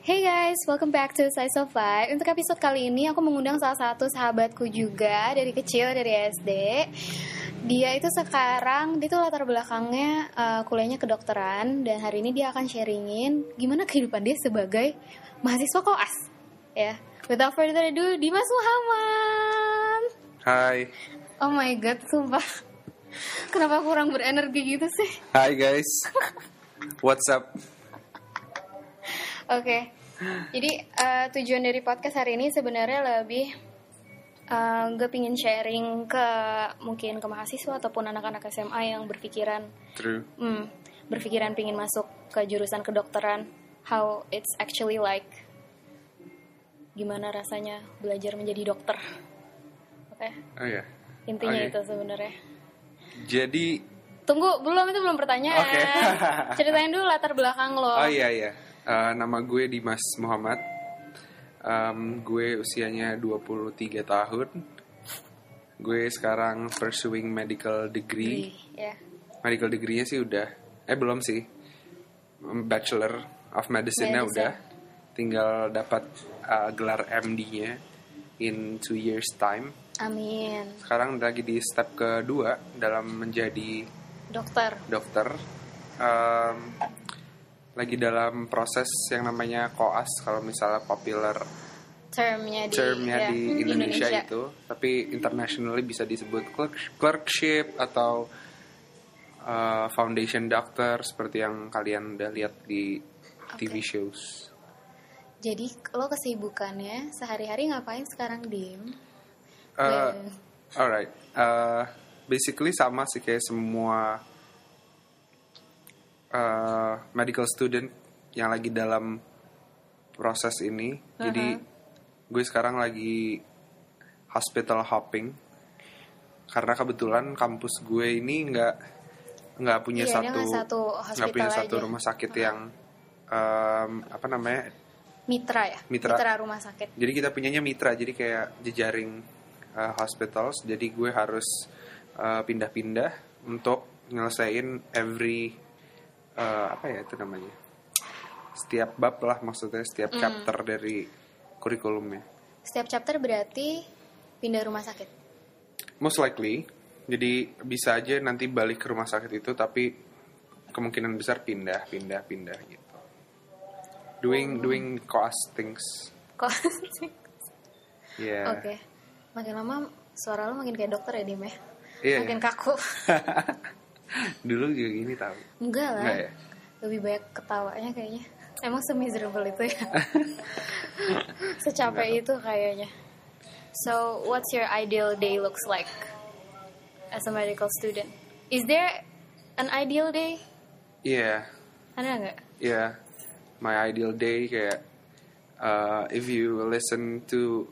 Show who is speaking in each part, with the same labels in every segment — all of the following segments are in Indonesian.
Speaker 1: Hey guys, welcome back to Size of Five. Untuk episode kali ini aku mengundang salah satu sahabatku juga dari kecil dari SD. Dia itu sekarang dia tuh latar belakangnya eh, kuliahnya kedokteran dan hari ini dia akan sharingin gimana kehidupan dia sebagai mahasiswa koas. Ya, without further ado, Dimas Muhammad.
Speaker 2: Hai,
Speaker 1: Oh my god, sumpah. Kenapa kurang berenergi gitu sih?
Speaker 2: hai guys, what's up?
Speaker 1: Oke. Jadi eh, tujuan dari podcast hari ini sebenarnya lebih eh, gue pingin sharing ke mungkin ke mahasiswa ataupun anak-anak SMA yang berpikiran
Speaker 2: True.
Speaker 1: hmm, berpikiran pingin masuk ke jurusan kedokteran how it's actually like gimana rasanya belajar menjadi dokter. Oke.
Speaker 2: Oh ya.
Speaker 1: Intinya
Speaker 2: Oke.
Speaker 1: itu sebenarnya.
Speaker 2: Jadi,
Speaker 1: Tunggu, belum itu belum pertanyaan.
Speaker 2: Oke.
Speaker 1: Ceritain dulu latar belakang lo.
Speaker 2: oh iya iya, Eh, nama gue Dimas Muhammad. Em, gue usianya 23 tahun. Gue sekarang pursuing medical degree.
Speaker 1: Ih, ya.
Speaker 2: Medical degree-nya sih udah, eh belum sih. Em, Bachelor of Medicine-nya
Speaker 1: Medicine.
Speaker 2: udah. Tinggal dapat eh, gelar MD-nya in two years time.
Speaker 1: Amin.
Speaker 2: Sekarang lagi di step kedua dalam menjadi
Speaker 1: Dokter.
Speaker 2: dokter. Em, lagi dalam proses yang namanya koas kalau misalnya popular
Speaker 1: termnya di, ya,
Speaker 2: termnya iya, di Indonesia, itu, tapi internationally bisa disebut clerk- clerkship atau eh, foundation doctor seperti yang kalian udah lihat di TV shows.
Speaker 1: Jadi lo kesibukannya sehari-hari ngapain sekarang Dim?
Speaker 2: Uh,
Speaker 1: Dan-
Speaker 2: alright. Uh, basically sama sih kayak semua uh, medical student yang lagi dalam proses ini. Jadi
Speaker 1: Uh-huh.
Speaker 2: gue sekarang lagi hospital hopping karena kebetulan kampus gue ini nggak nggak punya
Speaker 1: Iya, dia nggak
Speaker 2: satu
Speaker 1: satu
Speaker 2: nggak punya
Speaker 1: hospital Uh-huh.
Speaker 2: satu
Speaker 1: aja.
Speaker 2: rumah sakit yang um, apa namanya
Speaker 1: Mitra ya?
Speaker 2: Mitra.
Speaker 1: rumah sakit.
Speaker 2: jadi kita punyanya mitra, jadi kayak jejaring uh, hospitals. Jadi gue harus uh, pindah-pindah untuk nyelesain every uh, apa ya itu namanya? Setiap bab lah maksudnya setiap chapter dari kurikulumnya.
Speaker 1: Setiap chapter berarti pindah rumah sakit.
Speaker 2: Most likely, jadi bisa aja nanti balik ke rumah sakit itu, tapi kemungkinan besar pindah, pindah, pindah gitu. Doing doing cost things.
Speaker 1: Kok?
Speaker 2: Yeah.
Speaker 1: Oke. Makin lama suara lo makin kayak dokter ya Dim ya?
Speaker 2: Iya,
Speaker 1: Makin kaku.
Speaker 2: Dulu juga gini tau.
Speaker 1: Enggak lah.
Speaker 2: Enggak ya?
Speaker 1: Lebih banyak ketawanya kayaknya. Emang semiserable itu ya? Secapek itu kayaknya. So, what's your ideal day looks like as a medical student? Is there an ideal day?
Speaker 2: Yeah,
Speaker 1: Ada nggak?
Speaker 2: yeah. My ideal day kayak uh, if you listen to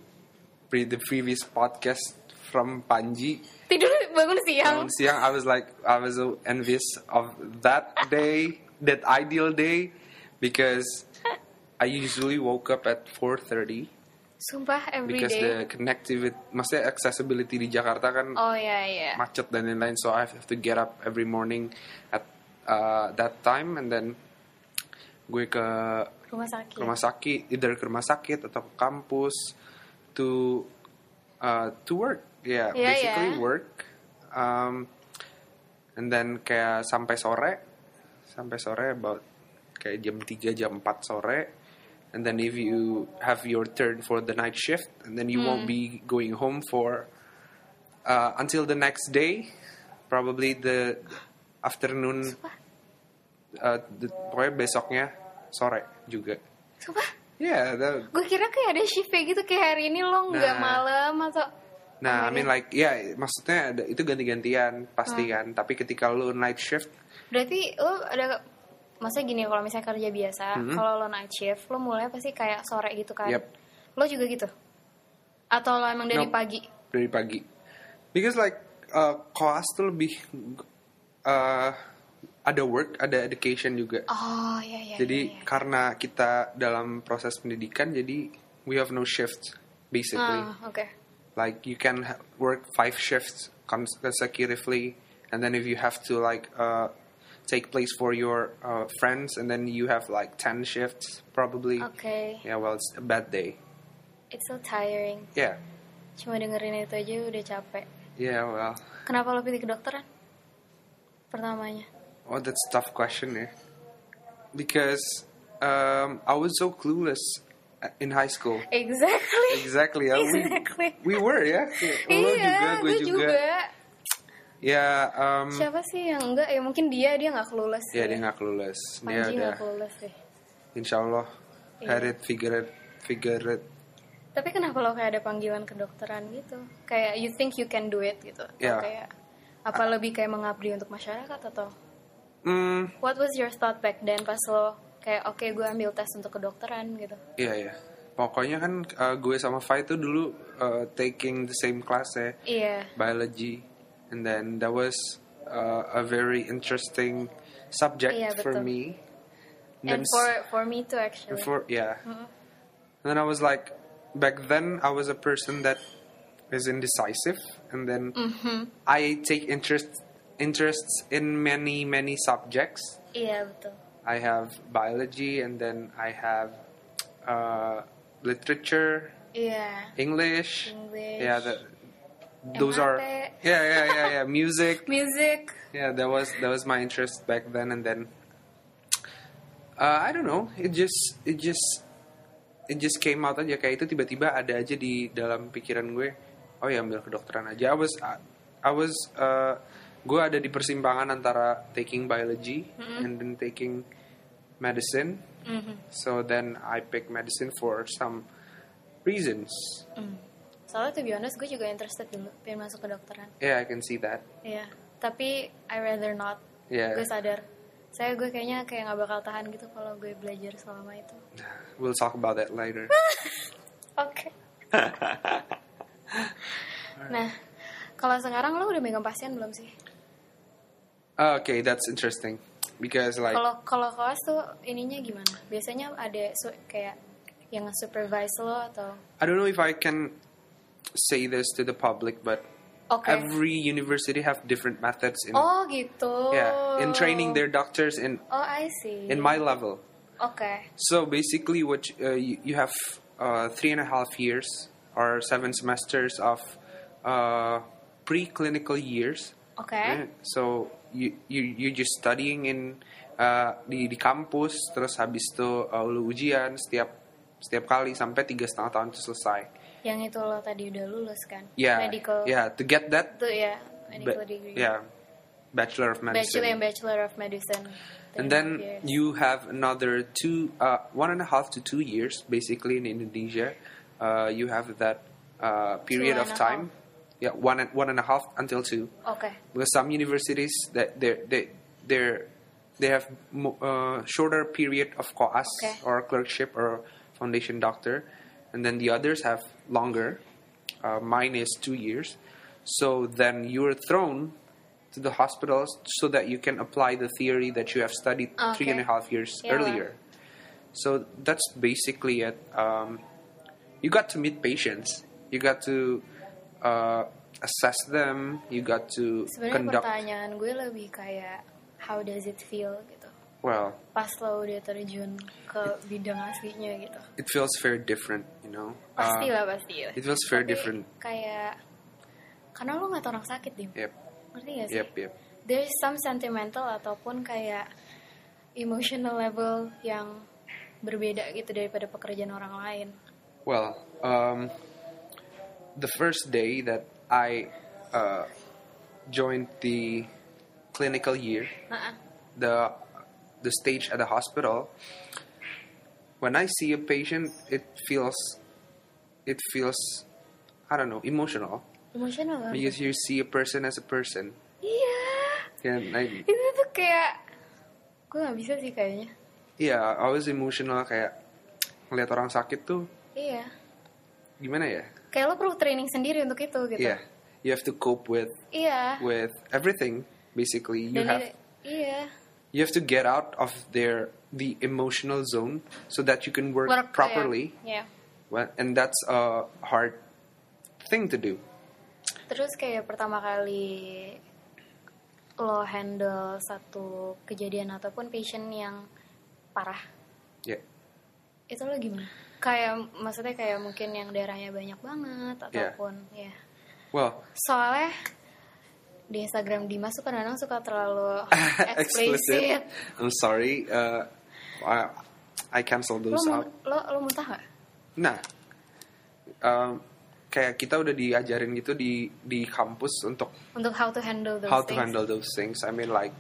Speaker 2: pre the previous podcast from Panji
Speaker 1: Tidur bangun siang.
Speaker 2: tahun siang, I was like I was so envious of that day, that ideal day, because I usually woke up at 4:30
Speaker 1: Sumpah every
Speaker 2: because
Speaker 1: day.
Speaker 2: the connectivity, maksudnya accessibility di Jakarta kan
Speaker 1: Oh ya ya.
Speaker 2: macet dan lain-lain so I have to get up every morning at uh, that time and then gue ke
Speaker 1: Rumah sakit.
Speaker 2: rumah sakit either ke rumah sakit atau ke kampus to uh, to work yeah,
Speaker 1: Yeah,
Speaker 2: basically
Speaker 1: yeah.
Speaker 2: work um, and then kayak sampai sore sampai sore about kayak jam 3 jam 4 sore and then if you have your turn for the night shift and then
Speaker 1: Hmm.
Speaker 2: you won't be going home for uh, until the next day probably the afternoon uh, the- pokoknya besoknya sore juga
Speaker 1: Sumpah.
Speaker 2: yeah that,
Speaker 1: Gue kira kayak ada shift kayak gitu kayak hari ini lo nggak
Speaker 2: Nah.
Speaker 1: malam atau
Speaker 2: Nah, I
Speaker 1: Akhirnya.
Speaker 2: mean like, ya maksudnya ada, itu ganti-gantian pasti
Speaker 1: Ah.
Speaker 2: kan. Tapi ketika lu night shift,
Speaker 1: Berarti lo ada maksudnya gini kalau misalnya kerja biasa, kalau lo night shift, lo mulai pasti kayak sore gitu kan.
Speaker 2: Mm-hmm. Yep.
Speaker 1: Lo juga gitu? Atau lo emang dari
Speaker 2: Nope.
Speaker 1: pagi?
Speaker 2: dari pagi. Because like uh, koas tuh lebih uh, ada work, ada education juga.
Speaker 1: Oh, iya iya.
Speaker 2: jadi
Speaker 1: iya, iya.
Speaker 2: karena kita dalam proses pendidikan, jadi we have no shifts basically.
Speaker 1: Ah, oke.
Speaker 2: Like you can ha- work five shifts cons- consecutively, and then if you have to like uh, take place for your uh, friends, and then you have like ten shifts probably.
Speaker 1: Okay,
Speaker 2: Yeah, well, it's a bad day.
Speaker 1: it's so tiring.
Speaker 2: Yeah,
Speaker 1: Cuma dengerin itu aja udah capek.
Speaker 2: yeah. Well,
Speaker 1: Kenapa lo pilih kedokteran? Pertamanya.
Speaker 2: oh, that's a tough question, yeah. Because um, I was so clueless uh, in high school.
Speaker 1: Exactly.
Speaker 2: Exactly. yeah,
Speaker 1: Exactly.
Speaker 2: We, we were, yeah. Lo juga,
Speaker 1: iya,
Speaker 2: gue
Speaker 1: gue juga.
Speaker 2: Yeah. Um,
Speaker 1: Siapa sih yang enggak? Ya mungkin dia dia nggak kelulus.
Speaker 2: yeah, Iya, dia nggak kelulus. Dia
Speaker 1: Panji
Speaker 2: udah,
Speaker 1: nggak kelulus sih.
Speaker 2: insyaallah, had it, figure it, figure it.
Speaker 1: Tapi kenapa lo kayak ada panggilan kedokteran gitu? Kayak you think you can do it gitu? Atau
Speaker 2: Iya.
Speaker 1: Kayak apa lebih kayak mengabdi untuk masyarakat atau?
Speaker 2: Hmm,
Speaker 1: What was your thought back then pas lo kayak oke gue ambil tes untuk kedokteran gitu?
Speaker 2: iya ya. Pokoknya kan uh, gue sama Fai tuh dulu uh, taking the same class ya.
Speaker 1: Iya.
Speaker 2: biology, and then that was uh, a very interesting subject
Speaker 1: Iya,
Speaker 2: for
Speaker 1: betul.
Speaker 2: me.
Speaker 1: And for Mm-hmm. for me too actually.
Speaker 2: before, yeah. And then I was like, back then I was a person that is indecisive, and then
Speaker 1: Mm-hmm.
Speaker 2: I take interest interests in many many subjects.
Speaker 1: Iya betul.
Speaker 2: I have biology, and then I have uh, literature,
Speaker 1: Iya.
Speaker 2: English.
Speaker 1: English.
Speaker 2: Yeah, the, those are yeah
Speaker 1: MRT.
Speaker 2: yeah yeah yeah music.
Speaker 1: Music.
Speaker 2: yeah that was that was my interest back then and then uh, I don't know it just it just it just came out aja kayak itu tiba-tiba ada aja di dalam pikiran gue oh ya ambil kedokteran aja I was I, I was uh, gue ada di persimpangan antara taking biology and then taking medicine so then I picked medicine for some reasons
Speaker 1: Hmm. Soalnya to be honest gue juga interested dulu pengen masuk kedokteran.
Speaker 2: yeah I can see that
Speaker 1: Iya. Tapi I rather not.
Speaker 2: yeah
Speaker 1: Gue sadar. Saya gue kayaknya kayak nggak bakal tahan gitu kalau gue belajar selama itu.
Speaker 2: we'll talk about that later
Speaker 1: Oke. nah, kalau sekarang lo udah megang pasien belum sih?
Speaker 2: Ah, Okay, that's interesting because like
Speaker 1: Kalau kalau koas tuh ininya gimana? Biasanya ada su- kayak yang supervise lo atau
Speaker 2: I don't know if I can say this to the public, but
Speaker 1: Oke.
Speaker 2: every university have different methods in
Speaker 1: Oh gitu.
Speaker 2: yeah Ya, in training their doctors in
Speaker 1: Oh I see.
Speaker 2: in my level.
Speaker 1: Oke.
Speaker 2: So basically, what you- uh, you, you have uh, three and a half years or seven semesters of uh, preclinical years.
Speaker 1: Oke.
Speaker 2: Yeah, Eh, So you you you just studying in uh, di di kampus terus habis itu uh, lu ujian setiap setiap kali sampai tiga setengah tahun itu selesai.
Speaker 1: Yang itu lo tadi udah lulus kan?
Speaker 2: Yeah.
Speaker 1: Medical.
Speaker 2: Yeah, to get that
Speaker 1: Itu ya. Medical
Speaker 2: Ba-
Speaker 1: degree.
Speaker 2: Yeah, Bachelor of ya, Medicine.
Speaker 1: Bachelor and Bachelor of Medicine.
Speaker 2: and
Speaker 1: Three
Speaker 2: then
Speaker 1: years.
Speaker 2: you have another two, uh, one and a half to two years, basically in Indonesia. Uh, you have that uh, period
Speaker 1: Two
Speaker 2: of
Speaker 1: and a
Speaker 2: time. Yeah, one and one and a half until two.
Speaker 1: Oke.
Speaker 2: Because some universities that they they they they have mo- uh, shorter period of coas
Speaker 1: Okay.
Speaker 2: or clerkship or foundation doctor, and then the others have longer. Uh, mine is two years, so then you are thrown to the hospitals so that you can apply the theory that you have studied three and a
Speaker 1: Ah, Okay.
Speaker 2: half years
Speaker 1: Yeah.
Speaker 2: earlier. So that's basically it. Um, you got to meet patients. You got to uh, assess them. You got to
Speaker 1: Sebenarnya
Speaker 2: conduct.
Speaker 1: pertanyaan gue lebih kayak how does it feel gitu.
Speaker 2: Well,
Speaker 1: Pas lo udah terjun ke bidang aslinya gitu.
Speaker 2: it feels very different, you know.
Speaker 1: Pasti
Speaker 2: Uh,
Speaker 1: lah pasti lah.
Speaker 2: it feels very
Speaker 1: Tapi
Speaker 2: different.
Speaker 1: Kayak karena lo nggak tau orang sakit dim.
Speaker 2: Yep,
Speaker 1: Ngerti gak sih?
Speaker 2: yep, yep.
Speaker 1: There's some sentimental ataupun kayak emotional level yang berbeda gitu daripada pekerjaan orang lain.
Speaker 2: Well, um, the first day that I uh, joined the clinical year,
Speaker 1: Nah,
Speaker 2: the the stage at the hospital when i see a patient it feels it feels i don't know emotional
Speaker 1: emotional kan?
Speaker 2: because you see a person as a person
Speaker 1: Iya,
Speaker 2: and I,
Speaker 1: itu tuh kayak gue nggak bisa sih kayaknya.
Speaker 2: yeah i was emotional kayak ngeliat orang sakit tuh
Speaker 1: Iya,
Speaker 2: gimana ya
Speaker 1: kayak lo perlu training sendiri untuk itu gitu.
Speaker 2: yeah you have to cope with
Speaker 1: Iya.
Speaker 2: with everything basically you
Speaker 1: Dan
Speaker 2: have
Speaker 1: i- iya,
Speaker 2: you have to get out of their the emotional zone so that you can work,
Speaker 1: Work,
Speaker 2: properly
Speaker 1: Iya. Iya.
Speaker 2: Well, and that's a hard thing to do
Speaker 1: Terus kayak pertama kali lo handle satu kejadian ataupun passion yang parah
Speaker 2: Yeah.
Speaker 1: itu lo gimana kayak maksudnya kayak mungkin yang daerahnya banyak
Speaker 2: Iya.
Speaker 1: banget ataupun ya
Speaker 2: Well,
Speaker 1: soalnya di Instagram Dimas tuh kadang-kadang suka terlalu
Speaker 2: explicit.
Speaker 1: eksplisit
Speaker 2: I'm sorry. Uh, I, I cancel
Speaker 1: lo,
Speaker 2: those
Speaker 1: mu-
Speaker 2: out.
Speaker 1: lo lo muntah gak?
Speaker 2: Nah, um, kayak kita udah diajarin gitu di di kampus untuk
Speaker 1: untuk how to handle those
Speaker 2: how to
Speaker 1: things
Speaker 2: handle those things. I mean, like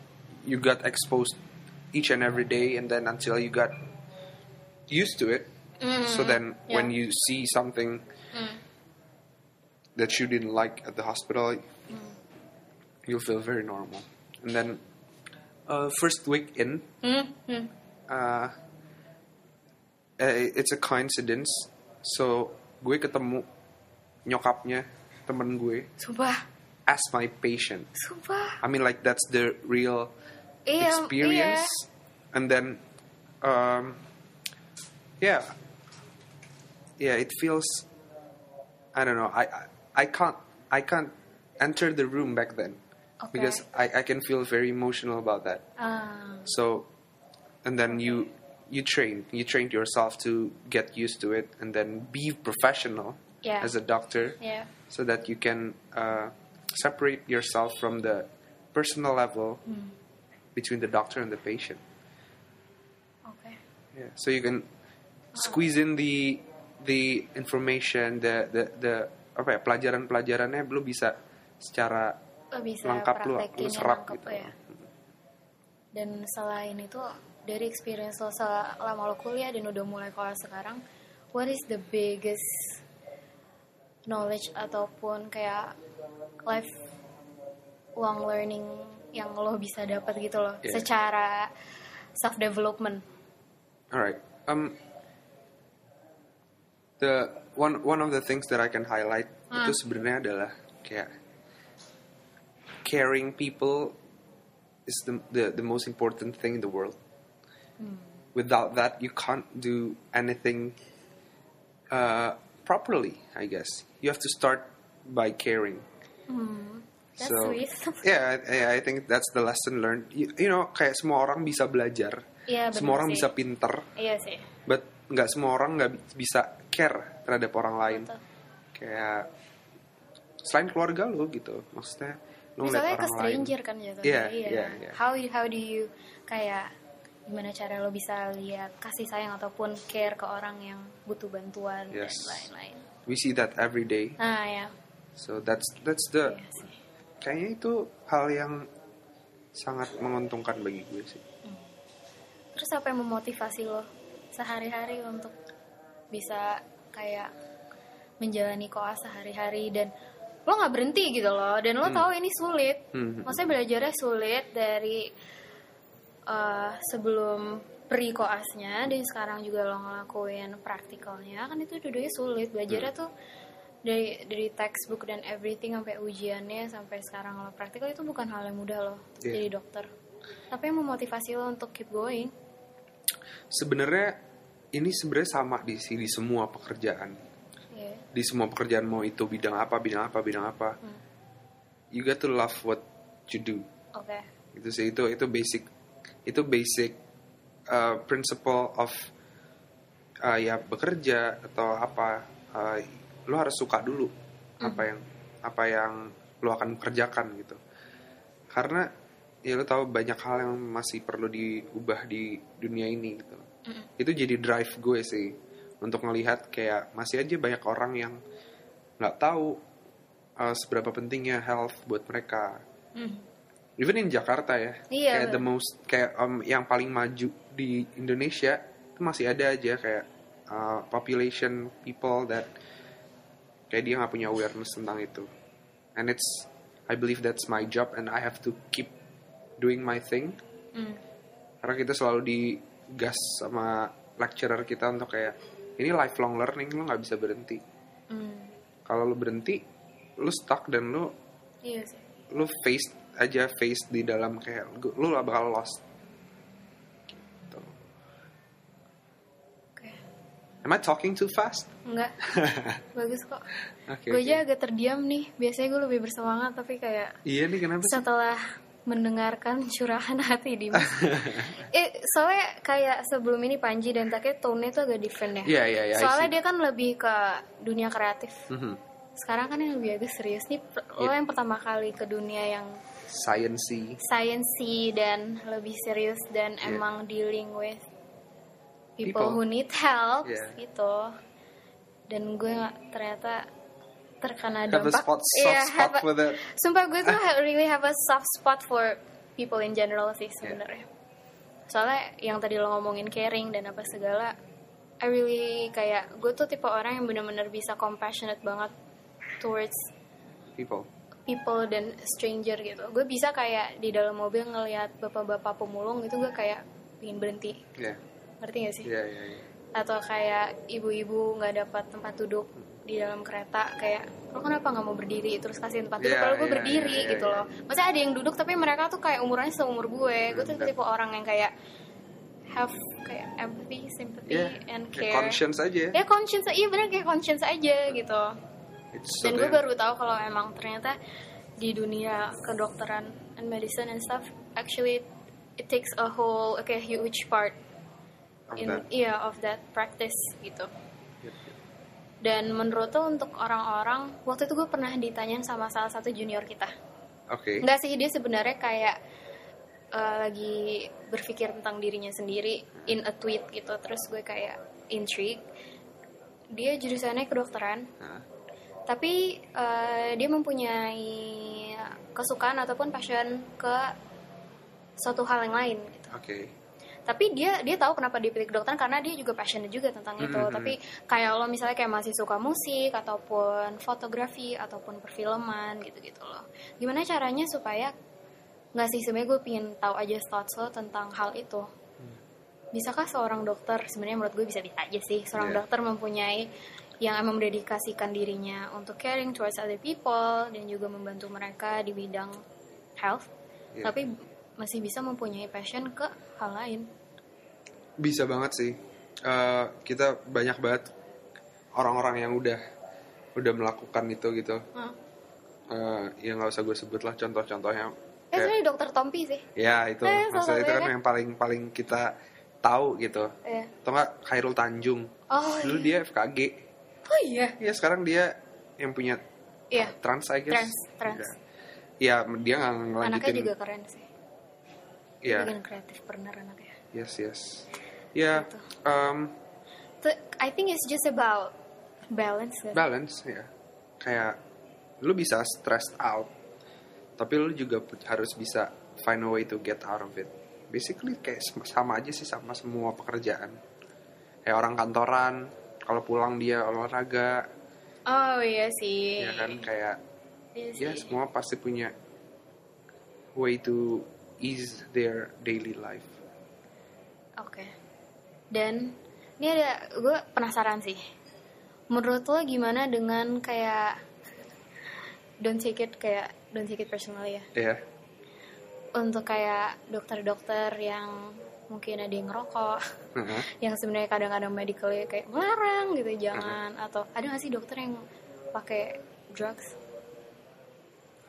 Speaker 2: you got exposed each and every day, and then until you got used to it. So then,
Speaker 1: Mm-hmm. yeah. Mm.
Speaker 2: when you see something that you didn't like at the hospital,
Speaker 1: Mm.
Speaker 2: you'll feel very normal. And then, uh, first week in,
Speaker 1: Hmm, hmm.
Speaker 2: uh, eh, it's a coincidence. So gue ketemu nyokapnya temen gue
Speaker 1: sumpah
Speaker 2: as my patient.
Speaker 1: sumpah
Speaker 2: I mean, like that's the real
Speaker 1: iya
Speaker 2: experience. And then, um, yeah, yeah, it feels. I don't know. I, I I can't I can't enter the room back then
Speaker 1: Okay.
Speaker 2: because I I can feel very emotional about that.
Speaker 1: iya. Ah,
Speaker 2: So, and then you you train you trained yourself to get used to it and then be professional
Speaker 1: Yeah.
Speaker 2: as a doctor
Speaker 1: yeah.
Speaker 2: so that you can uh, separate yourself from the personal level
Speaker 1: Mm.
Speaker 2: between the doctor and the patient.
Speaker 1: oke
Speaker 2: Yeah. So you can squeeze in the the information, the the the apa ya pelajaran-pelajarannya lu bisa secara
Speaker 1: lo bisa
Speaker 2: lengkap lu,
Speaker 1: praktekin
Speaker 2: lu
Speaker 1: yang
Speaker 2: serap
Speaker 1: lengkap
Speaker 2: gitu.
Speaker 1: ya. dan selain itu dari experience lo selama lo kuliah dan udah mulai kelas sekarang what is the biggest knowledge ataupun kayak life long learning yang lo bisa dapat gitu loh
Speaker 2: Yeah.
Speaker 1: secara self development
Speaker 2: All right. Um, the one one of the things that I can highlight
Speaker 1: Hmm.
Speaker 2: itu sebenarnya adalah kayak caring people is the the, the most important thing in the world.
Speaker 1: Hmm.
Speaker 2: Without that, you can't do anything uh, properly. I guess you have to start by caring.
Speaker 1: Hmm, that's
Speaker 2: so
Speaker 1: sweet
Speaker 2: yeah, I, I think that's the lesson learned. You, you know, kayak semua orang bisa belajar,
Speaker 1: Iya, benar
Speaker 2: semua orang
Speaker 1: sih.
Speaker 2: bisa pinter,
Speaker 1: iya sih
Speaker 2: but nggak semua orang nggak bi- bisa care terhadap orang lain
Speaker 1: Betul.
Speaker 2: kayak selain keluarga lo gitu maksudnya lo
Speaker 1: misalnya
Speaker 2: ngeliat
Speaker 1: ke
Speaker 2: orang lain
Speaker 1: stranger kan jatuhnya
Speaker 2: Iya,
Speaker 1: iya.
Speaker 2: iya, iya.
Speaker 1: how how do you kayak gimana cara lo bisa lihat kasih sayang ataupun care ke orang yang butuh bantuan
Speaker 2: Yes.
Speaker 1: dan lain-lain
Speaker 2: we see that every day
Speaker 1: nah ya
Speaker 2: so that's that's the
Speaker 1: iya sih
Speaker 2: kayaknya itu hal yang sangat menguntungkan bagi gue sih
Speaker 1: terus apa yang memotivasi lo sehari-hari untuk bisa kayak menjalani koas sehari-hari dan lo nggak berhenti gitu loh dan lo tahu ini sulit
Speaker 2: Hmm.
Speaker 1: maksudnya belajarnya sulit dari eh, sebelum pri koasnya dan sekarang juga lo ngelakuin praktikalnya kan itu duduknya sulit belajarnya
Speaker 2: Hmm.
Speaker 1: tuh dari dari textbook dan everything sampai ujiannya sampai sekarang lo praktikal itu bukan hal yang mudah lo untuk
Speaker 2: Iya.
Speaker 1: jadi dokter tapi yang memotivasi lo untuk keep going
Speaker 2: sebenarnya ini sebenarnya sama di sini di semua pekerjaan
Speaker 1: Iya.
Speaker 2: di semua pekerjaan mau itu bidang apa bidang apa bidang apa
Speaker 1: Hmm.
Speaker 2: you got to love what you do
Speaker 1: oke
Speaker 2: itu Gitu sih itu itu basic itu basic uh, principle of uh, ya bekerja atau apa uh, lo harus suka dulu apa yang apa yang lo akan kerjakan gitu karena ya lo tahu banyak hal yang masih perlu diubah di dunia ini gitu itu jadi drive gue sih untuk melihat kayak masih aja banyak orang yang nggak tahu uh, seberapa pentingnya health buat mereka
Speaker 1: Hmm.
Speaker 2: even in Jakarta ya
Speaker 1: Iya,
Speaker 2: kayak the
Speaker 1: bener.
Speaker 2: most kayak um, yang paling maju di Indonesia itu masih ada aja kayak uh, population people that kayak dia nggak punya awareness tentang itu and it's I believe that's my job and I have to keep doing my thing
Speaker 1: Hmm.
Speaker 2: karena kita selalu digas sama lecturer kita untuk kayak ini lifelong learning lo nggak bisa berhenti
Speaker 1: Hmm.
Speaker 2: kalau lo berhenti lo stuck dan lo
Speaker 1: iya sih
Speaker 2: lu face aja face di dalam kayak gu- lu lah bakal lost. Gitu.
Speaker 1: oke
Speaker 2: Am I talking too fast?
Speaker 1: enggak bagus kok
Speaker 2: Oke.
Speaker 1: gue
Speaker 2: oke.
Speaker 1: aja agak terdiam nih biasanya gue lebih bersemangat tapi kayak
Speaker 2: Iya nih kenapa? sih?
Speaker 1: setelah mendengarkan curahan hati Dimas. eh, soalnya kayak sebelum ini Panji dan Take tone-nya tuh agak different ya.
Speaker 2: Iya, iya, iya, I
Speaker 1: Soalnya
Speaker 2: see.
Speaker 1: dia kan lebih ke dunia kreatif.
Speaker 2: Mhm.
Speaker 1: Sekarang kan yang lebih agak serius nih. per- Lo
Speaker 2: Iya.
Speaker 1: yang pertama kali ke dunia yang
Speaker 2: Sciencey.
Speaker 1: sciencey dan lebih serius dan
Speaker 2: Yeah.
Speaker 1: emang dealing with people,
Speaker 2: Iya. People. Iya.
Speaker 1: who need help
Speaker 2: Yeah.
Speaker 1: gitu. Dan gue nggak ternyata terkena
Speaker 2: Have a
Speaker 1: dampak.
Speaker 2: spot, soft
Speaker 1: Iya,
Speaker 2: spot
Speaker 1: have a-
Speaker 2: with it.
Speaker 1: Sumpah gue tuh ha- really have a soft spot for people in general sih
Speaker 2: Iya.
Speaker 1: sebenarnya. Soalnya yang tadi lo ngomongin caring dan apa segala, I really kayak gue tuh tipe orang yang bener-bener bisa compassionate banget towards
Speaker 2: People.
Speaker 1: people dan stranger gitu. Gue bisa kayak di dalam mobil ngelihat bapak-bapak pemulung itu gue kayak ingin berhenti,
Speaker 2: Yeah.
Speaker 1: ngerti gak sih?
Speaker 2: Yeah, yeah, yeah.
Speaker 1: Atau kayak ibu-ibu nggak dapat tempat duduk di dalam kereta kayak lo kenapa nggak mau berdiri terus kasih tempat duduk
Speaker 2: Iya,
Speaker 1: kalau gue
Speaker 2: iya,
Speaker 1: berdiri
Speaker 2: iya, iya,
Speaker 1: gitu
Speaker 2: iya. Hmm,
Speaker 1: loh masa ada yang duduk tapi mereka tuh kayak umurannya seumur gue gue tuh
Speaker 2: Bener.
Speaker 1: tipe orang yang kayak have kayak empathy sympathy
Speaker 2: Yeah.
Speaker 1: and
Speaker 2: Iya, Kayak
Speaker 1: care
Speaker 2: Conscience aja.
Speaker 1: ya conscience iya bener kayak conscience aja gitu
Speaker 2: It's so
Speaker 1: dan gue
Speaker 2: damn-
Speaker 1: baru tahu kalau emang ternyata di dunia kedokteran and medicine and stuff actually it takes a whole like a huge part
Speaker 2: of
Speaker 1: in
Speaker 2: that.
Speaker 1: yeah of that practice gitu
Speaker 2: Yep, yep.
Speaker 1: dan menurut tuh untuk orang-orang waktu itu gue pernah ditanya sama salah satu junior kita
Speaker 2: Okay.
Speaker 1: Enggak sih dia sebenarnya kayak eh, lagi berpikir tentang dirinya sendiri in a tweet gitu terus gue kayak intrigue dia jurusannya kedokteran
Speaker 2: Nah,
Speaker 1: tapi eh, dia mempunyai kesukaan ataupun passion ke suatu hal yang lain gitu.
Speaker 2: okay.
Speaker 1: Tapi dia dia tahu kenapa dia pilih kedokteran karena dia juga passionate juga tentang itu.
Speaker 2: Mhm.
Speaker 1: Tapi kayak lo misalnya kayak masih suka musik ataupun fotografi ataupun perfilman gitu-gitu loh. Gimana caranya supaya nggak sih sebenarnya gue pingin tahu aja thoughts lo tentang hal itu. Bisakah seorang dokter sebenarnya menurut gue bisa-bisa aja sih seorang
Speaker 2: Yeah.
Speaker 1: dokter mempunyai yang emang mendedikasikan dirinya untuk caring towards other people dan juga membantu mereka di bidang health,
Speaker 2: Yeah.
Speaker 1: tapi masih bisa mempunyai passion ke hal lain.
Speaker 2: Bisa banget sih. Eh, kita banyak banget orang-orang yang udah udah melakukan itu gitu.
Speaker 1: Hmm.
Speaker 2: Eh, ya nggak usah gue sebut lah contoh-contohnya.
Speaker 1: Eh,
Speaker 2: Kayak-
Speaker 1: sebenarnya dokter Tompi sih.
Speaker 2: ya itu
Speaker 1: Eh, salah
Speaker 2: maksudnya itu
Speaker 1: satunya
Speaker 2: kan
Speaker 1: kan.
Speaker 2: yang paling paling kita tahu gitu.
Speaker 1: Iya.
Speaker 2: Atau nggak Khairul Tanjung.
Speaker 1: Oh,
Speaker 2: Dulu
Speaker 1: iya.
Speaker 2: dia FKG.
Speaker 1: Oh iya.
Speaker 2: Ya sekarang dia yang punya
Speaker 1: Iya.
Speaker 2: trans I guess.
Speaker 1: Trans, trans.
Speaker 2: Ya, Ya, dia nggak
Speaker 1: Anaknya
Speaker 2: ngelanjutin.
Speaker 1: juga keren sih.
Speaker 2: Ya,
Speaker 1: Bikin kreatif bener anaknya.
Speaker 2: yes yes. Ya,
Speaker 1: Gitu.
Speaker 2: em,
Speaker 1: Tuh, I think it's just about balance. nggak sih?
Speaker 2: balance ya kayak lu bisa stressed out tapi lu juga pu- harus bisa find a way to get out of it basically kayak sem- sama aja sih sama semua pekerjaan kayak orang kantoran kalau pulang dia olahraga
Speaker 1: Oh iya sih.
Speaker 2: ya kan kayak
Speaker 1: Iya
Speaker 2: ya
Speaker 1: sih.
Speaker 2: semua pasti punya way to ease their daily life
Speaker 1: Oke. Dan ini ada gue penasaran sih. Menurut lo gimana dengan kayak don't take it kayak don't take it personally ya?
Speaker 2: ya
Speaker 1: Untuk kayak dokter-dokter yang mungkin ada yang ngerokok,
Speaker 2: Heeh.
Speaker 1: yang sebenarnya kadang-kadang medicalnya kayak melarang
Speaker 2: Mhm.
Speaker 1: gitu jangan atau ada nggak sih dokter yang pakai drugs?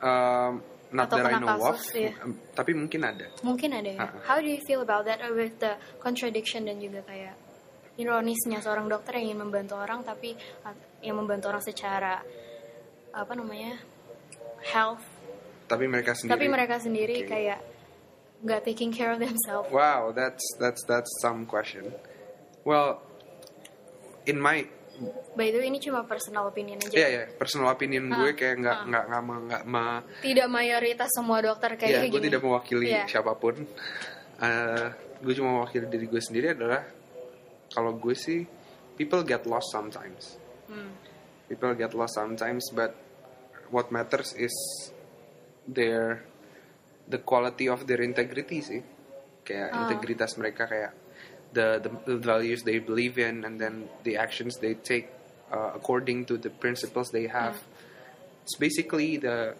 Speaker 2: Um, not
Speaker 1: Atau
Speaker 2: that I
Speaker 1: kena
Speaker 2: know of
Speaker 1: kasus, ya.
Speaker 2: m- tapi mungkin ada
Speaker 1: Mungkin ada ya.
Speaker 2: Ah.
Speaker 1: How do you feel about that uh, with the contradiction dan juga kayak ironisnya seorang dokter yang ingin membantu orang tapi uh, yang membantu orang secara apa namanya health
Speaker 2: tapi mereka sendiri
Speaker 1: tapi mereka sendiri
Speaker 2: Oke.
Speaker 1: kayak nggak taking care of themselves.
Speaker 2: Wow, that's that's that's some question. Well, in my
Speaker 1: By the way ini cuma personal opinion aja.
Speaker 2: yeah yeah personal opinion
Speaker 1: Ah,
Speaker 2: gue kayak nggak
Speaker 1: ah.
Speaker 2: nggak nggak ma- nggak ma
Speaker 1: Tidak mayoritas semua dokter kayak
Speaker 2: ya
Speaker 1: gini.
Speaker 2: gue tidak mewakili
Speaker 1: Iya.
Speaker 2: siapapun. Eh, gue cuma mewakili diri gue sendiri adalah kalau gue sih people get lost sometimes.
Speaker 1: Hmm.
Speaker 2: People get lost sometimes, but what matters is their the quality of their integrity sih. Kayak
Speaker 1: Ah.
Speaker 2: integritas mereka kayak the, the the values they believe in and then the actions they take uh, according to the principles they have.
Speaker 1: Hmm.
Speaker 2: It's basically the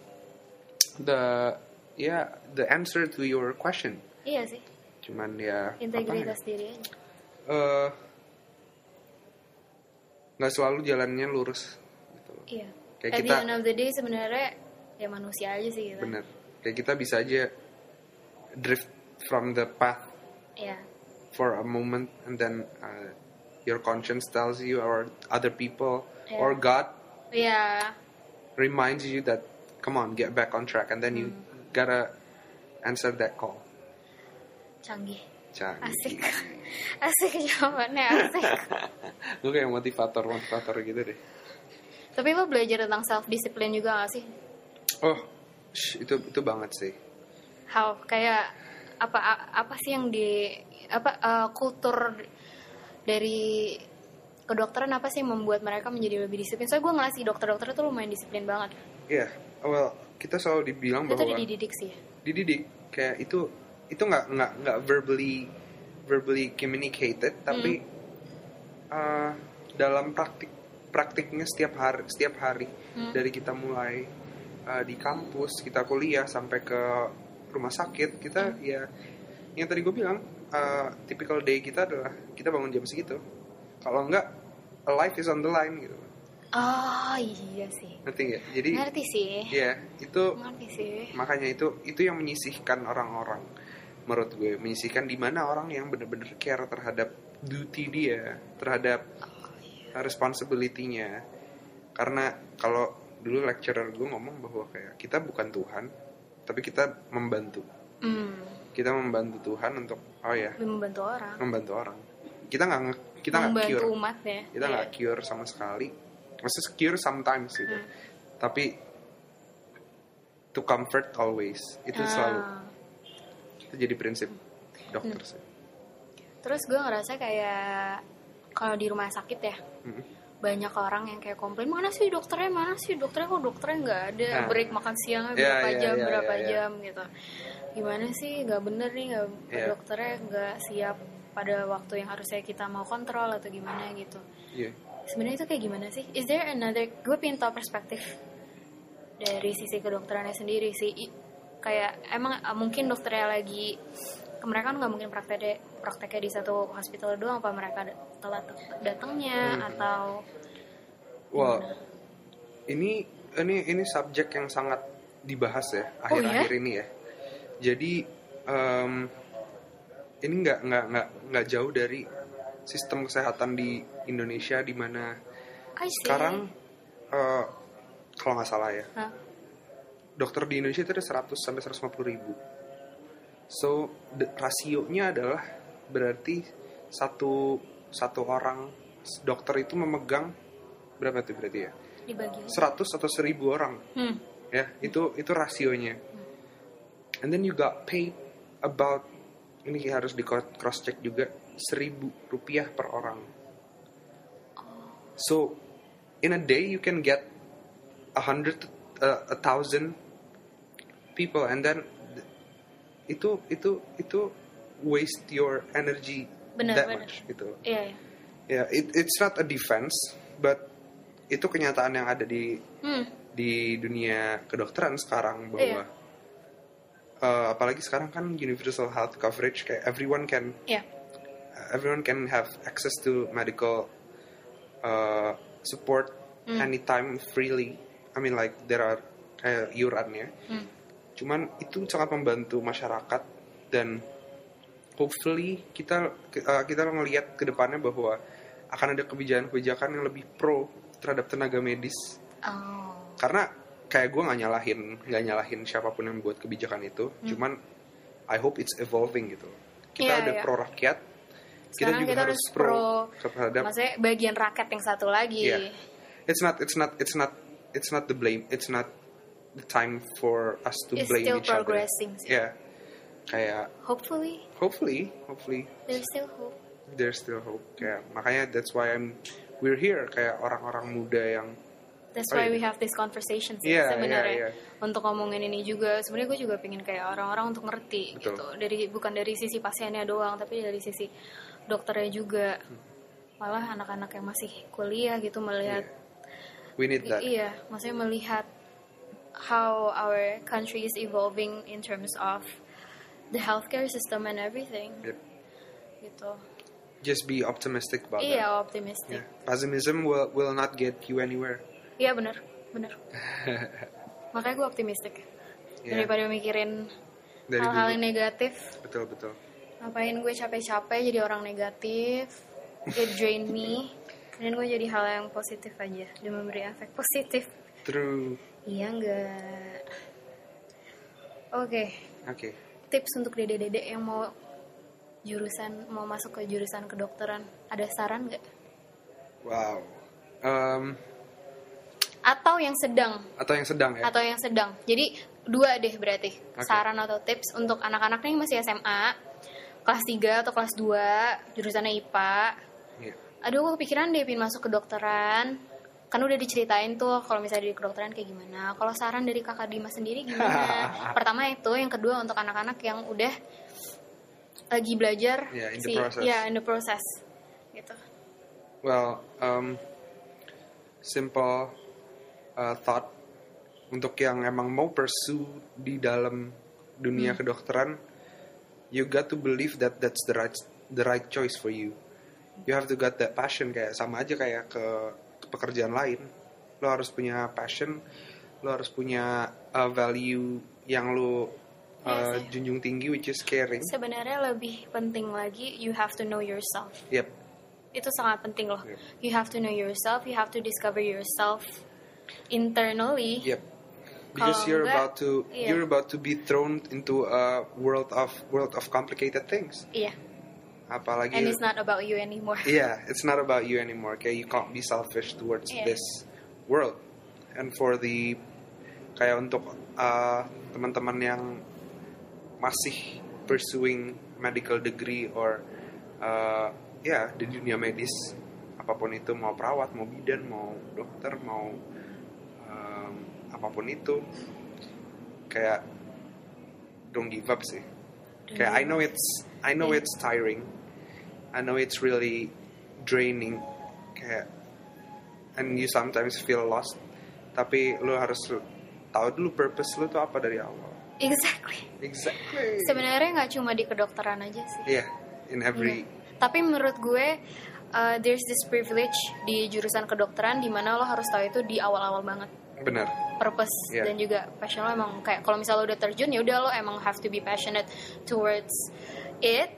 Speaker 2: the yeah the answer to your question.
Speaker 1: Iya sih
Speaker 2: Cuman ya apa ya,
Speaker 1: integritas diri aja.
Speaker 2: eh, nggak selalu jalannya lurus gitu loh.
Speaker 1: Iya.
Speaker 2: Kayak
Speaker 1: At the
Speaker 2: kita-
Speaker 1: end of the day sebenarnya ya manusia aja sih kita.
Speaker 2: Bener. Kayak kita bisa aja drift from the path
Speaker 1: ya
Speaker 2: for a moment and then uh, your conscience tells you or other people
Speaker 1: Yeah.
Speaker 2: or god
Speaker 1: ya
Speaker 2: reminds you that come on get back on track and then you gotta answer that call
Speaker 1: canggih
Speaker 2: canggih
Speaker 1: asik asik jawabannya asik
Speaker 2: lu kayak motivator motivator gitu deh
Speaker 1: tapi lo belajar tentang self discipline juga gak sih
Speaker 2: oh sh, itu itu banget sih
Speaker 1: how kayak apa a- apa sih yang di apa eh, kultur dari kedokteran apa sih yang membuat mereka menjadi lebih disiplin? Soalnya gue ngelatih dokter-dokter tuh lumayan disiplin banget.
Speaker 2: iya well kita selalu dibilang
Speaker 1: Itu
Speaker 2: bahwa
Speaker 1: tuh dididik sih. ya?
Speaker 2: dididik kayak itu itu nggak nggak nggak verbally verbally communicated tapi
Speaker 1: Hmm.
Speaker 2: uh, dalam praktik praktiknya setiap hari setiap hari
Speaker 1: Hmm.
Speaker 2: dari kita mulai uh, di kampus kita kuliah sampai ke rumah sakit
Speaker 1: Hmm.
Speaker 2: kita ya yang tadi gue bilang uh, typical day kita adalah kita bangun jam segitu kalau enggak life is on the line gitu
Speaker 1: Oh iya sih.
Speaker 2: ngerti nggak jadi
Speaker 1: Ngerti sih.
Speaker 2: ya itu
Speaker 1: Ngerti sih.
Speaker 2: makanya itu itu yang menyisihkan orang-orang menurut gue menyisihkan di mana orang yang bener-bener care terhadap duty dia terhadap responsibility-nya karena kalau dulu lecturer gue ngomong bahwa kayak kita bukan Tuhan tapi kita membantu
Speaker 1: Hmm.
Speaker 2: kita membantu Tuhan untuk oh ya
Speaker 1: Lebih membantu orang.
Speaker 2: membantu orang kita nggak nge- kita nggak
Speaker 1: membantu
Speaker 2: cure
Speaker 1: umat ya.
Speaker 2: kita nggak cure sama sekali maksudnya cure sometimes gitu
Speaker 1: Hmm.
Speaker 2: tapi to comfort always itu selalu
Speaker 1: Ah.
Speaker 2: itu jadi prinsip
Speaker 1: Hmm.
Speaker 2: dokter sih
Speaker 1: Terus gue ngerasa kayak kalau di rumah sakit ya
Speaker 2: Mm-mm.
Speaker 1: banyak orang yang kayak komplain mana sih dokternya mana sih dokternya kok dokternya nggak ada
Speaker 2: Nah.
Speaker 1: break makan siangnya
Speaker 2: Ya,
Speaker 1: berapa
Speaker 2: ya,
Speaker 1: jam
Speaker 2: ya,
Speaker 1: berapa
Speaker 2: ya, ya.
Speaker 1: jam gitu gimana sih nggak bener nih nggak
Speaker 2: Ya.
Speaker 1: dokternya nggak siap pada waktu yang harusnya kita mau kontrol atau gimana gitu
Speaker 2: Iya.
Speaker 1: sebenarnya itu kayak gimana sih is there another gue pengen tahu perspektif dari sisi kedokterannya sendiri sih I- kayak emang eh, mungkin dokternya lagi mereka kan nggak mungkin prakteknya prakteknya di satu hospital doang apa mereka da- telat datangnya
Speaker 2: Hmm.
Speaker 1: atau
Speaker 2: Wah, ini ini ini subjek yang sangat dibahas ya
Speaker 1: Oh, iya?
Speaker 2: akhir-akhir ini ya. Jadi em, ini nggak nggak nggak nggak jauh dari sistem kesehatan di Indonesia di mana
Speaker 1: I see.
Speaker 2: sekarang eh, kalau nggak salah ya
Speaker 1: Hah?
Speaker 2: dokter di Indonesia itu ada 100 sampai 150 ribu. So the- rasionya adalah berarti satu satu orang dokter itu memegang berapa tuh berarti ya?
Speaker 1: dibagi
Speaker 2: 100 atau 1000 orang
Speaker 1: hmm.
Speaker 2: ya itu itu rasionya. And then you got paid about ini harus di cross check juga 1000 rupiah per orang. So in a day you can get a hundred uh, a thousand people and then th- itu itu itu waste your energy
Speaker 1: Benar,
Speaker 2: that
Speaker 1: benar.
Speaker 2: much gitu.
Speaker 1: iya iya.
Speaker 2: Ya, it, it's not a defense but itu kenyataan yang ada di
Speaker 1: hmm.
Speaker 2: di dunia kedokteran sekarang
Speaker 1: Iya.
Speaker 2: bahwa uh, apalagi sekarang kan universal health coverage kayak everyone can
Speaker 1: iya
Speaker 2: everyone can have access to medical uh, support anytime freely. I mean like there are kayak iurannya.
Speaker 1: Hmm.
Speaker 2: Cuman itu sangat membantu masyarakat dan hopefully kita uh, kita ngelihat ke depannya bahwa akan ada kebijakan-kebijakan yang lebih pro terhadap tenaga medis
Speaker 1: oh
Speaker 2: karena kayak gue nggak nyalahin nggak nyalahin siapapun yang buat kebijakan itu cuman I hope it's evolving gitu
Speaker 1: Hmm.
Speaker 2: kita
Speaker 1: Iya,
Speaker 2: udah
Speaker 1: iya.
Speaker 2: pro rakyat kita
Speaker 1: Sekarang
Speaker 2: juga
Speaker 1: kita
Speaker 2: harus
Speaker 1: harus
Speaker 2: pro,
Speaker 1: pro-
Speaker 2: terhadap
Speaker 1: maksudnya bagian rakyat yang satu lagi
Speaker 2: Iya. it's not it's not it's not it's not the blame it's not the time for us to
Speaker 1: It's
Speaker 2: blame
Speaker 1: still
Speaker 2: each other
Speaker 1: progressing sih.
Speaker 2: yeah kayak
Speaker 1: hopefully
Speaker 2: hopefully hopefully
Speaker 1: there's still hope
Speaker 2: there's still hope kayak
Speaker 1: Hmm.
Speaker 2: makanya that's why I'm we're here kayak orang-orang muda yang
Speaker 1: That's
Speaker 2: Oh,
Speaker 1: why
Speaker 2: iya.
Speaker 1: we have this conversation sih
Speaker 2: Iya,
Speaker 1: sebenarnya
Speaker 2: iya, iya.
Speaker 1: untuk ngomongin ini juga. Sebenarnya gue juga pengen kayak orang-orang untuk ngerti
Speaker 2: Betul.
Speaker 1: gitu. Dari bukan dari sisi pasiennya doang, tapi dari sisi dokternya juga.
Speaker 2: Hmm.
Speaker 1: Malah anak-anak yang masih kuliah gitu melihat
Speaker 2: we need that
Speaker 1: iya, maksudnya melihat how our country is evolving in terms of the healthcare system and everything
Speaker 2: Yep.
Speaker 1: gitu.
Speaker 2: just be optimistic about
Speaker 1: Iya,
Speaker 2: that
Speaker 1: optimistik.
Speaker 2: yeah. Ya, pessimism will will not get you anywhere
Speaker 1: Iya bener, bener. Makanya gue optimistik.
Speaker 2: Yeah.
Speaker 1: Daripada mikirin
Speaker 2: Ya, dari
Speaker 1: hal-hal
Speaker 2: dulu.
Speaker 1: yang negatif
Speaker 2: Betul betul.
Speaker 1: ngapain gue capek-capek jadi orang negatif it drain me dan gue jadi hal yang positif aja dan memberi efek positif
Speaker 2: True.
Speaker 1: iya enggak oke
Speaker 2: Oke.
Speaker 1: tips untuk dede-dede yang mau jurusan mau masuk ke jurusan kedokteran ada saran nggak
Speaker 2: Wow. Um,
Speaker 1: atau yang sedang
Speaker 2: atau yang sedang ya.
Speaker 1: atau yang sedang. Jadi dua deh berarti
Speaker 2: Oke.
Speaker 1: saran atau tips untuk anak-anak yang masih SMA kelas 3 atau kelas 2 jurusannya IPA.
Speaker 2: Iya.
Speaker 1: Aduh, gue kepikiran deh pin masuk kedokteran. Kan udah diceritain tuh kalau misalnya di kedokteran kayak gimana. Kalau saran dari Kakak Dimas sendiri gimana? Pertama itu, yang kedua untuk anak-anak yang udah lagi belajar
Speaker 2: Ya, in the
Speaker 1: sih.
Speaker 2: process.
Speaker 1: Ya, in the process. Gitu.
Speaker 2: Well, um, simple uh, thought untuk yang emang mau pursue di dalam dunia kedokteran, you got to believe that that's the right the right choice for you. You have to got that passion kayak sama aja kayak ke, ke pekerjaan lain. Lo harus punya passion, lo harus punya uh, value yang lo uh,
Speaker 1: Yes,
Speaker 2: junjung tinggi which is caring.
Speaker 1: Sebenarnya lebih penting lagi you have to know yourself.
Speaker 2: Yep.
Speaker 1: itu sangat penting loh.
Speaker 2: Iya.
Speaker 1: You have to know yourself, you have to discover yourself internally.
Speaker 2: Yep. Because
Speaker 1: Kalau
Speaker 2: you're
Speaker 1: enggak,
Speaker 2: about to
Speaker 1: iya.
Speaker 2: you're about to be thrown into a world of world of complicated things.
Speaker 1: Iya.
Speaker 2: Apalagi
Speaker 1: And it's not about you anymore.
Speaker 2: yeah, it's not about you anymore. Okay, you can't be selfish towards
Speaker 1: Iya.
Speaker 2: this world. And for the kayak untuk uh, teman-teman yang masih pursuing medical degree or uh, ya di dunia medis apapun itu mau perawat mau bidan mau dokter mau um, apapun itu kayak don't give up sih kayak I know it's I know
Speaker 1: Yeah.
Speaker 2: it's tiring I know it's really draining kayak and you sometimes feel lost tapi lu harus tahu dulu purpose lu tuh apa dari awal
Speaker 1: Exactly.
Speaker 2: Exactly.
Speaker 1: Sebenarnya nggak cuma di kedokteran aja sih.
Speaker 2: Yeah, in every
Speaker 1: Iya. Tapi menurut gue uh, there's this privilege di jurusan kedokteran di mana lo harus tahu itu di awal-awal banget
Speaker 2: benar.
Speaker 1: purpose
Speaker 2: Iya.
Speaker 1: dan juga passion lo emang kayak kalau misalnya lo udah terjun ya udah lo emang have to be passionate towards it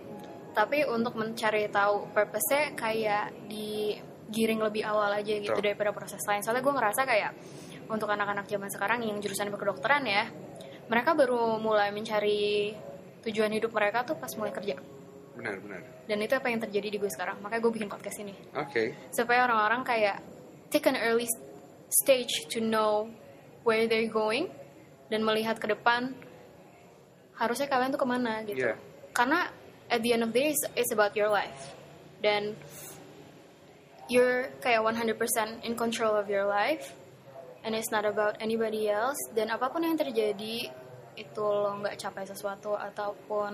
Speaker 1: tapi untuk mencari tahu purpose-nya kayak digiring lebih awal aja gitu
Speaker 2: Betul.
Speaker 1: daripada proses lain soalnya gue ngerasa kayak untuk anak-anak zaman sekarang yang jurusan kedokteran ya mereka baru mulai mencari tujuan hidup mereka tuh pas mulai kerja
Speaker 2: Benar, benar.
Speaker 1: dan itu apa yang terjadi di gue sekarang makanya gue bikin podcast ini
Speaker 2: Oke.
Speaker 1: supaya orang-orang kayak take an early s- stage to know where they're going dan melihat ke depan harusnya kalian tuh kemana gitu
Speaker 2: Yeah.
Speaker 1: karena at the end of the day it's, it's about your life dan you're kayak 100% in control of your life and it's not about anybody else dan apapun yang terjadi itu lo nggak capai sesuatu ataupun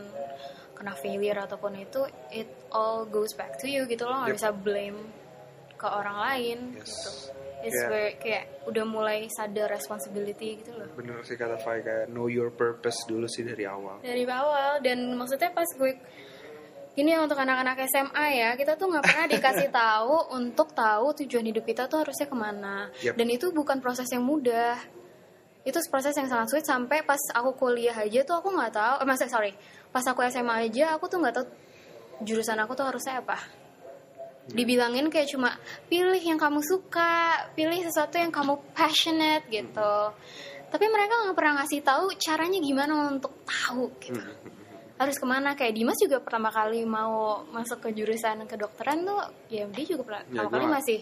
Speaker 1: kena failure ataupun itu it all goes back to you gitu lo nggak
Speaker 2: Yep.
Speaker 1: bisa blame ke orang lain
Speaker 2: Yes. Iya.
Speaker 1: gitu it's
Speaker 2: Yeah.
Speaker 1: where kayak udah mulai sadar responsibility gitu loh
Speaker 2: Benar sih kata Fai kayak know your purpose dulu sih dari awal.
Speaker 1: dari awal dan maksudnya pas gue ini untuk anak-anak SMA ya kita tuh nggak pernah dikasih tahu untuk tahu tujuan hidup kita tuh harusnya kemana
Speaker 2: Yep.
Speaker 1: dan itu bukan proses yang mudah itu proses yang sangat sulit sampai pas aku kuliah aja tuh aku nggak tahu eh, maksudnya sorry pas aku SMA aja aku tuh nggak tahu jurusan aku tuh harusnya apa dibilangin kayak cuma pilih yang kamu suka pilih sesuatu yang kamu passionate gitu tapi mereka nggak pernah ngasih tahu caranya gimana untuk tahu gitu
Speaker 2: Hmm.
Speaker 1: harus kemana kayak Dimas juga pertama kali mau masuk ke jurusan kedokteran tuh ya dia juga pernah-
Speaker 2: Ya,
Speaker 1: pertama
Speaker 2: gua
Speaker 1: kali
Speaker 2: nggak-
Speaker 1: masih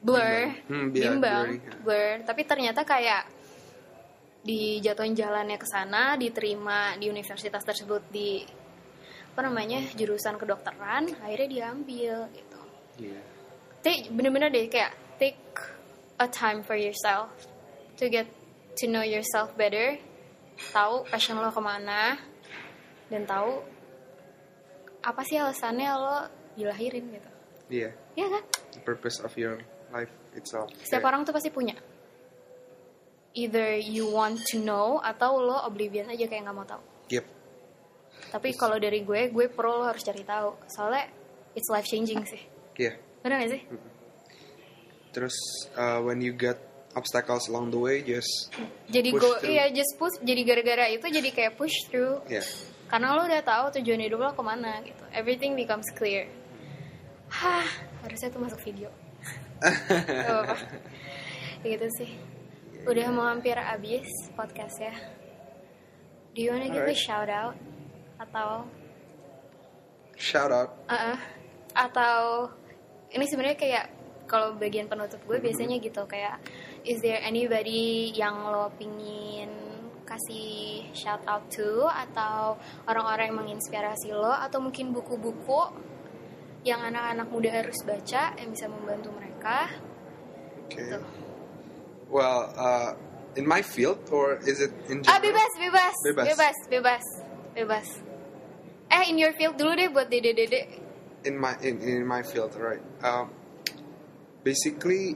Speaker 1: blur
Speaker 2: Hmm, iya,
Speaker 1: bimbang
Speaker 2: blurring.
Speaker 1: blur tapi ternyata kayak dijatuhin jalannya ke sana diterima di universitas tersebut di apa namanya jurusan kedokteran akhirnya diambil gitu
Speaker 2: Iya.
Speaker 1: take bener-bener deh kayak take a time for yourself to get to know yourself better tahu passion lo kemana dan tahu apa sih alasannya lo dilahirin gitu
Speaker 2: Iya,
Speaker 1: ya kan
Speaker 2: the purpose of your life itself.
Speaker 1: setiap orang tuh pasti punya either you want to know atau lo oblivion aja kayak nggak mau tahu
Speaker 2: Yep.
Speaker 1: tapi kalau dari gue gue pro lo harus cari tahu soalnya it's life changing sih
Speaker 2: Iya.
Speaker 1: bener gak sih
Speaker 2: Terus uh, when you get obstacles along the way, just
Speaker 1: Jadi
Speaker 2: Hmm. Push
Speaker 1: go,
Speaker 2: through.
Speaker 1: iya just push. Jadi gara-gara itu jadi kayak push through.
Speaker 2: yeah.
Speaker 1: Karena lo udah tahu tujuan hidup lo kemana gitu. Everything becomes clear. Hah, harusnya tuh masuk video. Gak apa-apa. Gitu sih. Udah mau hampir habis podcast ya. Do you wanna give a
Speaker 2: Alright.
Speaker 1: shout out? Atau
Speaker 2: Shout out.
Speaker 1: Uh-uh. atau ini sebenarnya kayak kalau bagian penutup gue biasanya gitu kayak is there anybody yang lo pingin kasih shout out to atau orang-orang yang menginspirasi lo atau mungkin buku-buku yang anak-anak muda harus baca yang bisa membantu mereka
Speaker 2: Okay.
Speaker 1: Tuh.
Speaker 2: Well, uh, in my field or is it in
Speaker 1: ah
Speaker 2: general?
Speaker 1: bebas bebas
Speaker 2: Bebas.
Speaker 1: bebas bebas bebas eh in your field dulu deh buat dede-dede
Speaker 2: in my in, in my field, right? Um, basically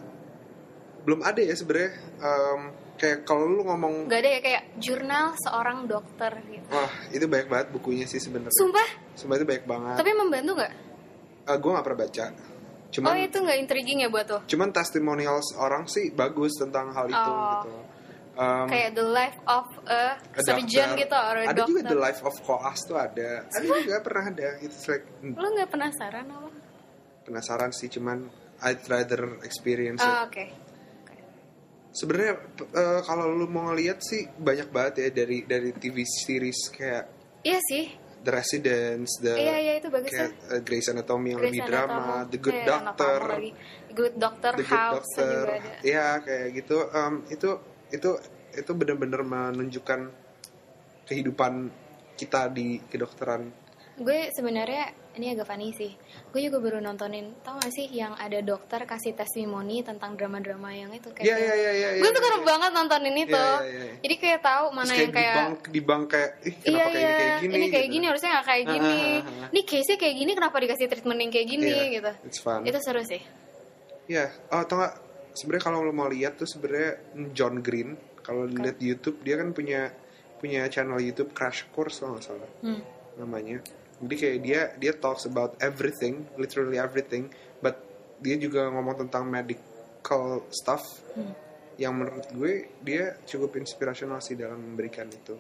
Speaker 2: belum ada ya sebenarnya. Um, kayak kalau lu ngomong,
Speaker 1: gak ada ya kayak jurnal seorang dokter gitu
Speaker 2: wah itu banyak banget bukunya sih sebenarnya.
Speaker 1: sumpah
Speaker 2: Sumpah itu banyak banget.
Speaker 1: tapi membantu nggak
Speaker 2: gue nggak pernah baca. Cuman
Speaker 1: oh itu nggak intriguing ya buat lo?
Speaker 2: cuman testimonials orang sih bagus tentang hal itu
Speaker 1: Oh.
Speaker 2: gitu. Um,
Speaker 1: Kayak the life of a,
Speaker 2: a
Speaker 1: surgeon
Speaker 2: doctor.
Speaker 1: gitu or a
Speaker 2: Ada juga
Speaker 1: doctor.
Speaker 2: the life of koas tuh ada. Ada juga pernah ada. It's like hmm,
Speaker 1: Lo nggak penasaran apa?
Speaker 2: penasaran sih cuman I'd rather experience
Speaker 1: Oh,
Speaker 2: it.
Speaker 1: oke.
Speaker 2: Sebenarnya p- eh, kalau lu mau ngeliat sih banyak banget ya dari dari TV series kayak
Speaker 1: Iya sih.
Speaker 2: The Residence, the
Speaker 1: Iya, iya, itu bagus
Speaker 2: kayak eh, Grey's Anatomy yang lebih
Speaker 1: Grey's
Speaker 2: drama,
Speaker 1: Anatomy.
Speaker 2: The Good
Speaker 1: Eh,
Speaker 2: Doctor,
Speaker 1: Anatomy lagi. The Good Doctor
Speaker 2: The Good
Speaker 1: House
Speaker 2: Doctor,
Speaker 1: juga ada.
Speaker 2: ya kayak gitu. Em, itu itu itu benar-benar menunjukkan kehidupan kita di kedokteran.
Speaker 1: Gue sebenarnya ini agak funny sih. Gue juga baru nontonin, tau gak sih yang ada dokter kasih testimoni tentang drama-drama yang itu kayak. gitu.
Speaker 2: Iya iya iya iya.
Speaker 1: Gue tuh keren banget nontonin itu.
Speaker 2: Iya, iya, iya.
Speaker 1: Jadi kayak tahu mana yang kayak
Speaker 2: dibang, dibang kayak ih kenapa
Speaker 1: iya
Speaker 2: kayak
Speaker 1: iya
Speaker 2: ini kayak gini?
Speaker 1: ini kayak
Speaker 2: gitu.
Speaker 1: gini harusnya nggak kayak
Speaker 2: Ah,
Speaker 1: gini
Speaker 2: ah, ah, ah.
Speaker 1: ini case-nya kayak gini kenapa dikasih treatment yang kayak gini
Speaker 2: Iya,
Speaker 1: gitu
Speaker 2: It's fun.
Speaker 1: itu seru sih
Speaker 2: Iya. Oh, tau nggak? Sebenarnya kalau lo mau lihat tuh sebenarnya John Green kalau lihat di YouTube dia kan punya punya channel YouTube Crash Course kalau nggak salah.
Speaker 1: hmm.
Speaker 2: namanya. Jadi kayak dia dia talks about everything, literally everything, but dia juga ngomong tentang medical stuff
Speaker 1: Hmm.
Speaker 2: yang menurut gue dia cukup inspirasional sih dalam memberikan itu.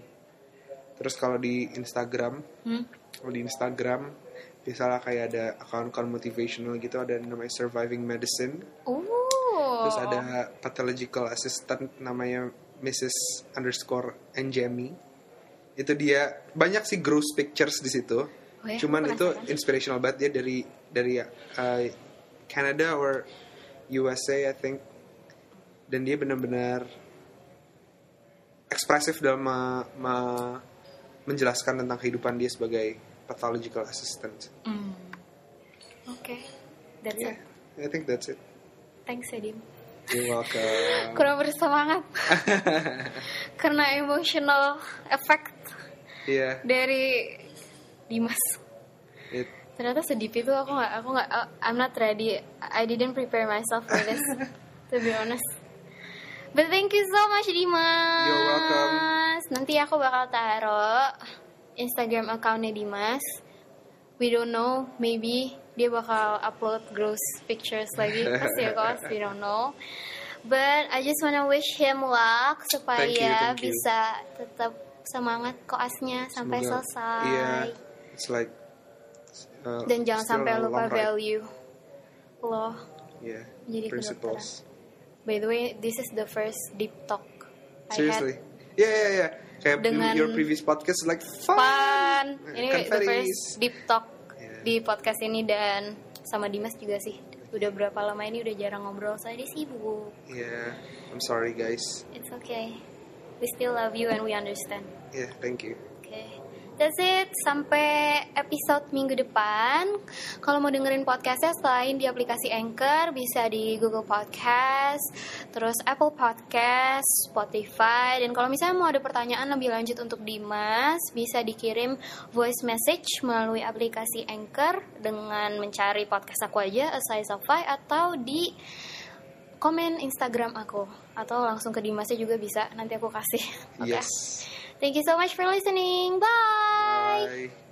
Speaker 2: Terus kalau di Instagram,
Speaker 1: Hmm.
Speaker 2: kalau di Instagram biasalah kayak ada akun-akun motivational gitu ada namanya surviving medicine,
Speaker 1: Oh.
Speaker 2: terus ada pathological assistant namanya Mrs. underscore Njemi. Itu dia banyak sih gross pictures di situ.
Speaker 1: Oh ya,
Speaker 2: Cuman
Speaker 1: aku
Speaker 2: itu
Speaker 1: penasaran.
Speaker 2: inspirational banget dia dari dari uh, Canada or USA I think. Dan dia benar-benar ekspresif dalam me- me- menjelaskan tentang kehidupan dia sebagai pathological assistant.
Speaker 1: Hmm. Oke. That's
Speaker 2: Yeah,
Speaker 1: it.
Speaker 2: I think that's it.
Speaker 1: Thanks Edim.
Speaker 2: You're welcome.
Speaker 1: Kurang bersemangat. Karena emotional effect
Speaker 2: Yeah,
Speaker 1: dari Dimas.
Speaker 2: it,
Speaker 1: Ternyata sedip itu aku nggak aku nggak oh, I'm not ready. I didn't prepare myself for this. to be honest. But thank you so much Dimas.
Speaker 2: You're welcome.
Speaker 1: Nanti aku bakal taruh Instagram accountnya Dimas. We don't know, maybe dia bakal upload gross pictures lagi pasti ya guys, we don't know. But I just wanna wish him luck supaya
Speaker 2: Thank you, thank you.
Speaker 1: bisa tetap semangat koasnya sampai
Speaker 2: Semoga-
Speaker 1: selesai
Speaker 2: Iya, it's like uh,
Speaker 1: dan jangan
Speaker 2: still
Speaker 1: sampai
Speaker 2: a
Speaker 1: lupa
Speaker 2: long ride.
Speaker 1: value lo
Speaker 2: Yeah,
Speaker 1: Jadi
Speaker 2: principles.
Speaker 1: by the way this is the first deep talk I
Speaker 2: Seriously, yeah yeah yeah. Kayak
Speaker 1: Dengan-
Speaker 2: your previous podcast like
Speaker 1: had
Speaker 2: fun.
Speaker 1: fun ini the
Speaker 2: Confetti.
Speaker 1: first deep talk
Speaker 2: Yeah.
Speaker 1: di podcast ini dan sama Dimas juga sih udah berapa lama ini udah jarang ngobrol soalnya dia sibuk
Speaker 2: Yeah, I'm sorry guys.
Speaker 1: it's okay we still love you and we understand
Speaker 2: Yeah, thank you.
Speaker 1: Oke, That's it sampai episode minggu depan. Kalau mau dengerin podcastnya selain di aplikasi Anchor bisa di Google Podcast, terus Apple Podcast, Spotify. Dan kalau misalnya mau ada pertanyaan lebih lanjut untuk Dimas bisa dikirim voice message melalui aplikasi Anchor dengan mencari podcast aku aja, A Size of Pie, atau di komen Instagram aku atau langsung ke Dimasnya juga bisa. Nanti aku kasih. Oke.
Speaker 2: Yes.
Speaker 1: Thank you so much for listening. Bye.
Speaker 2: Bye.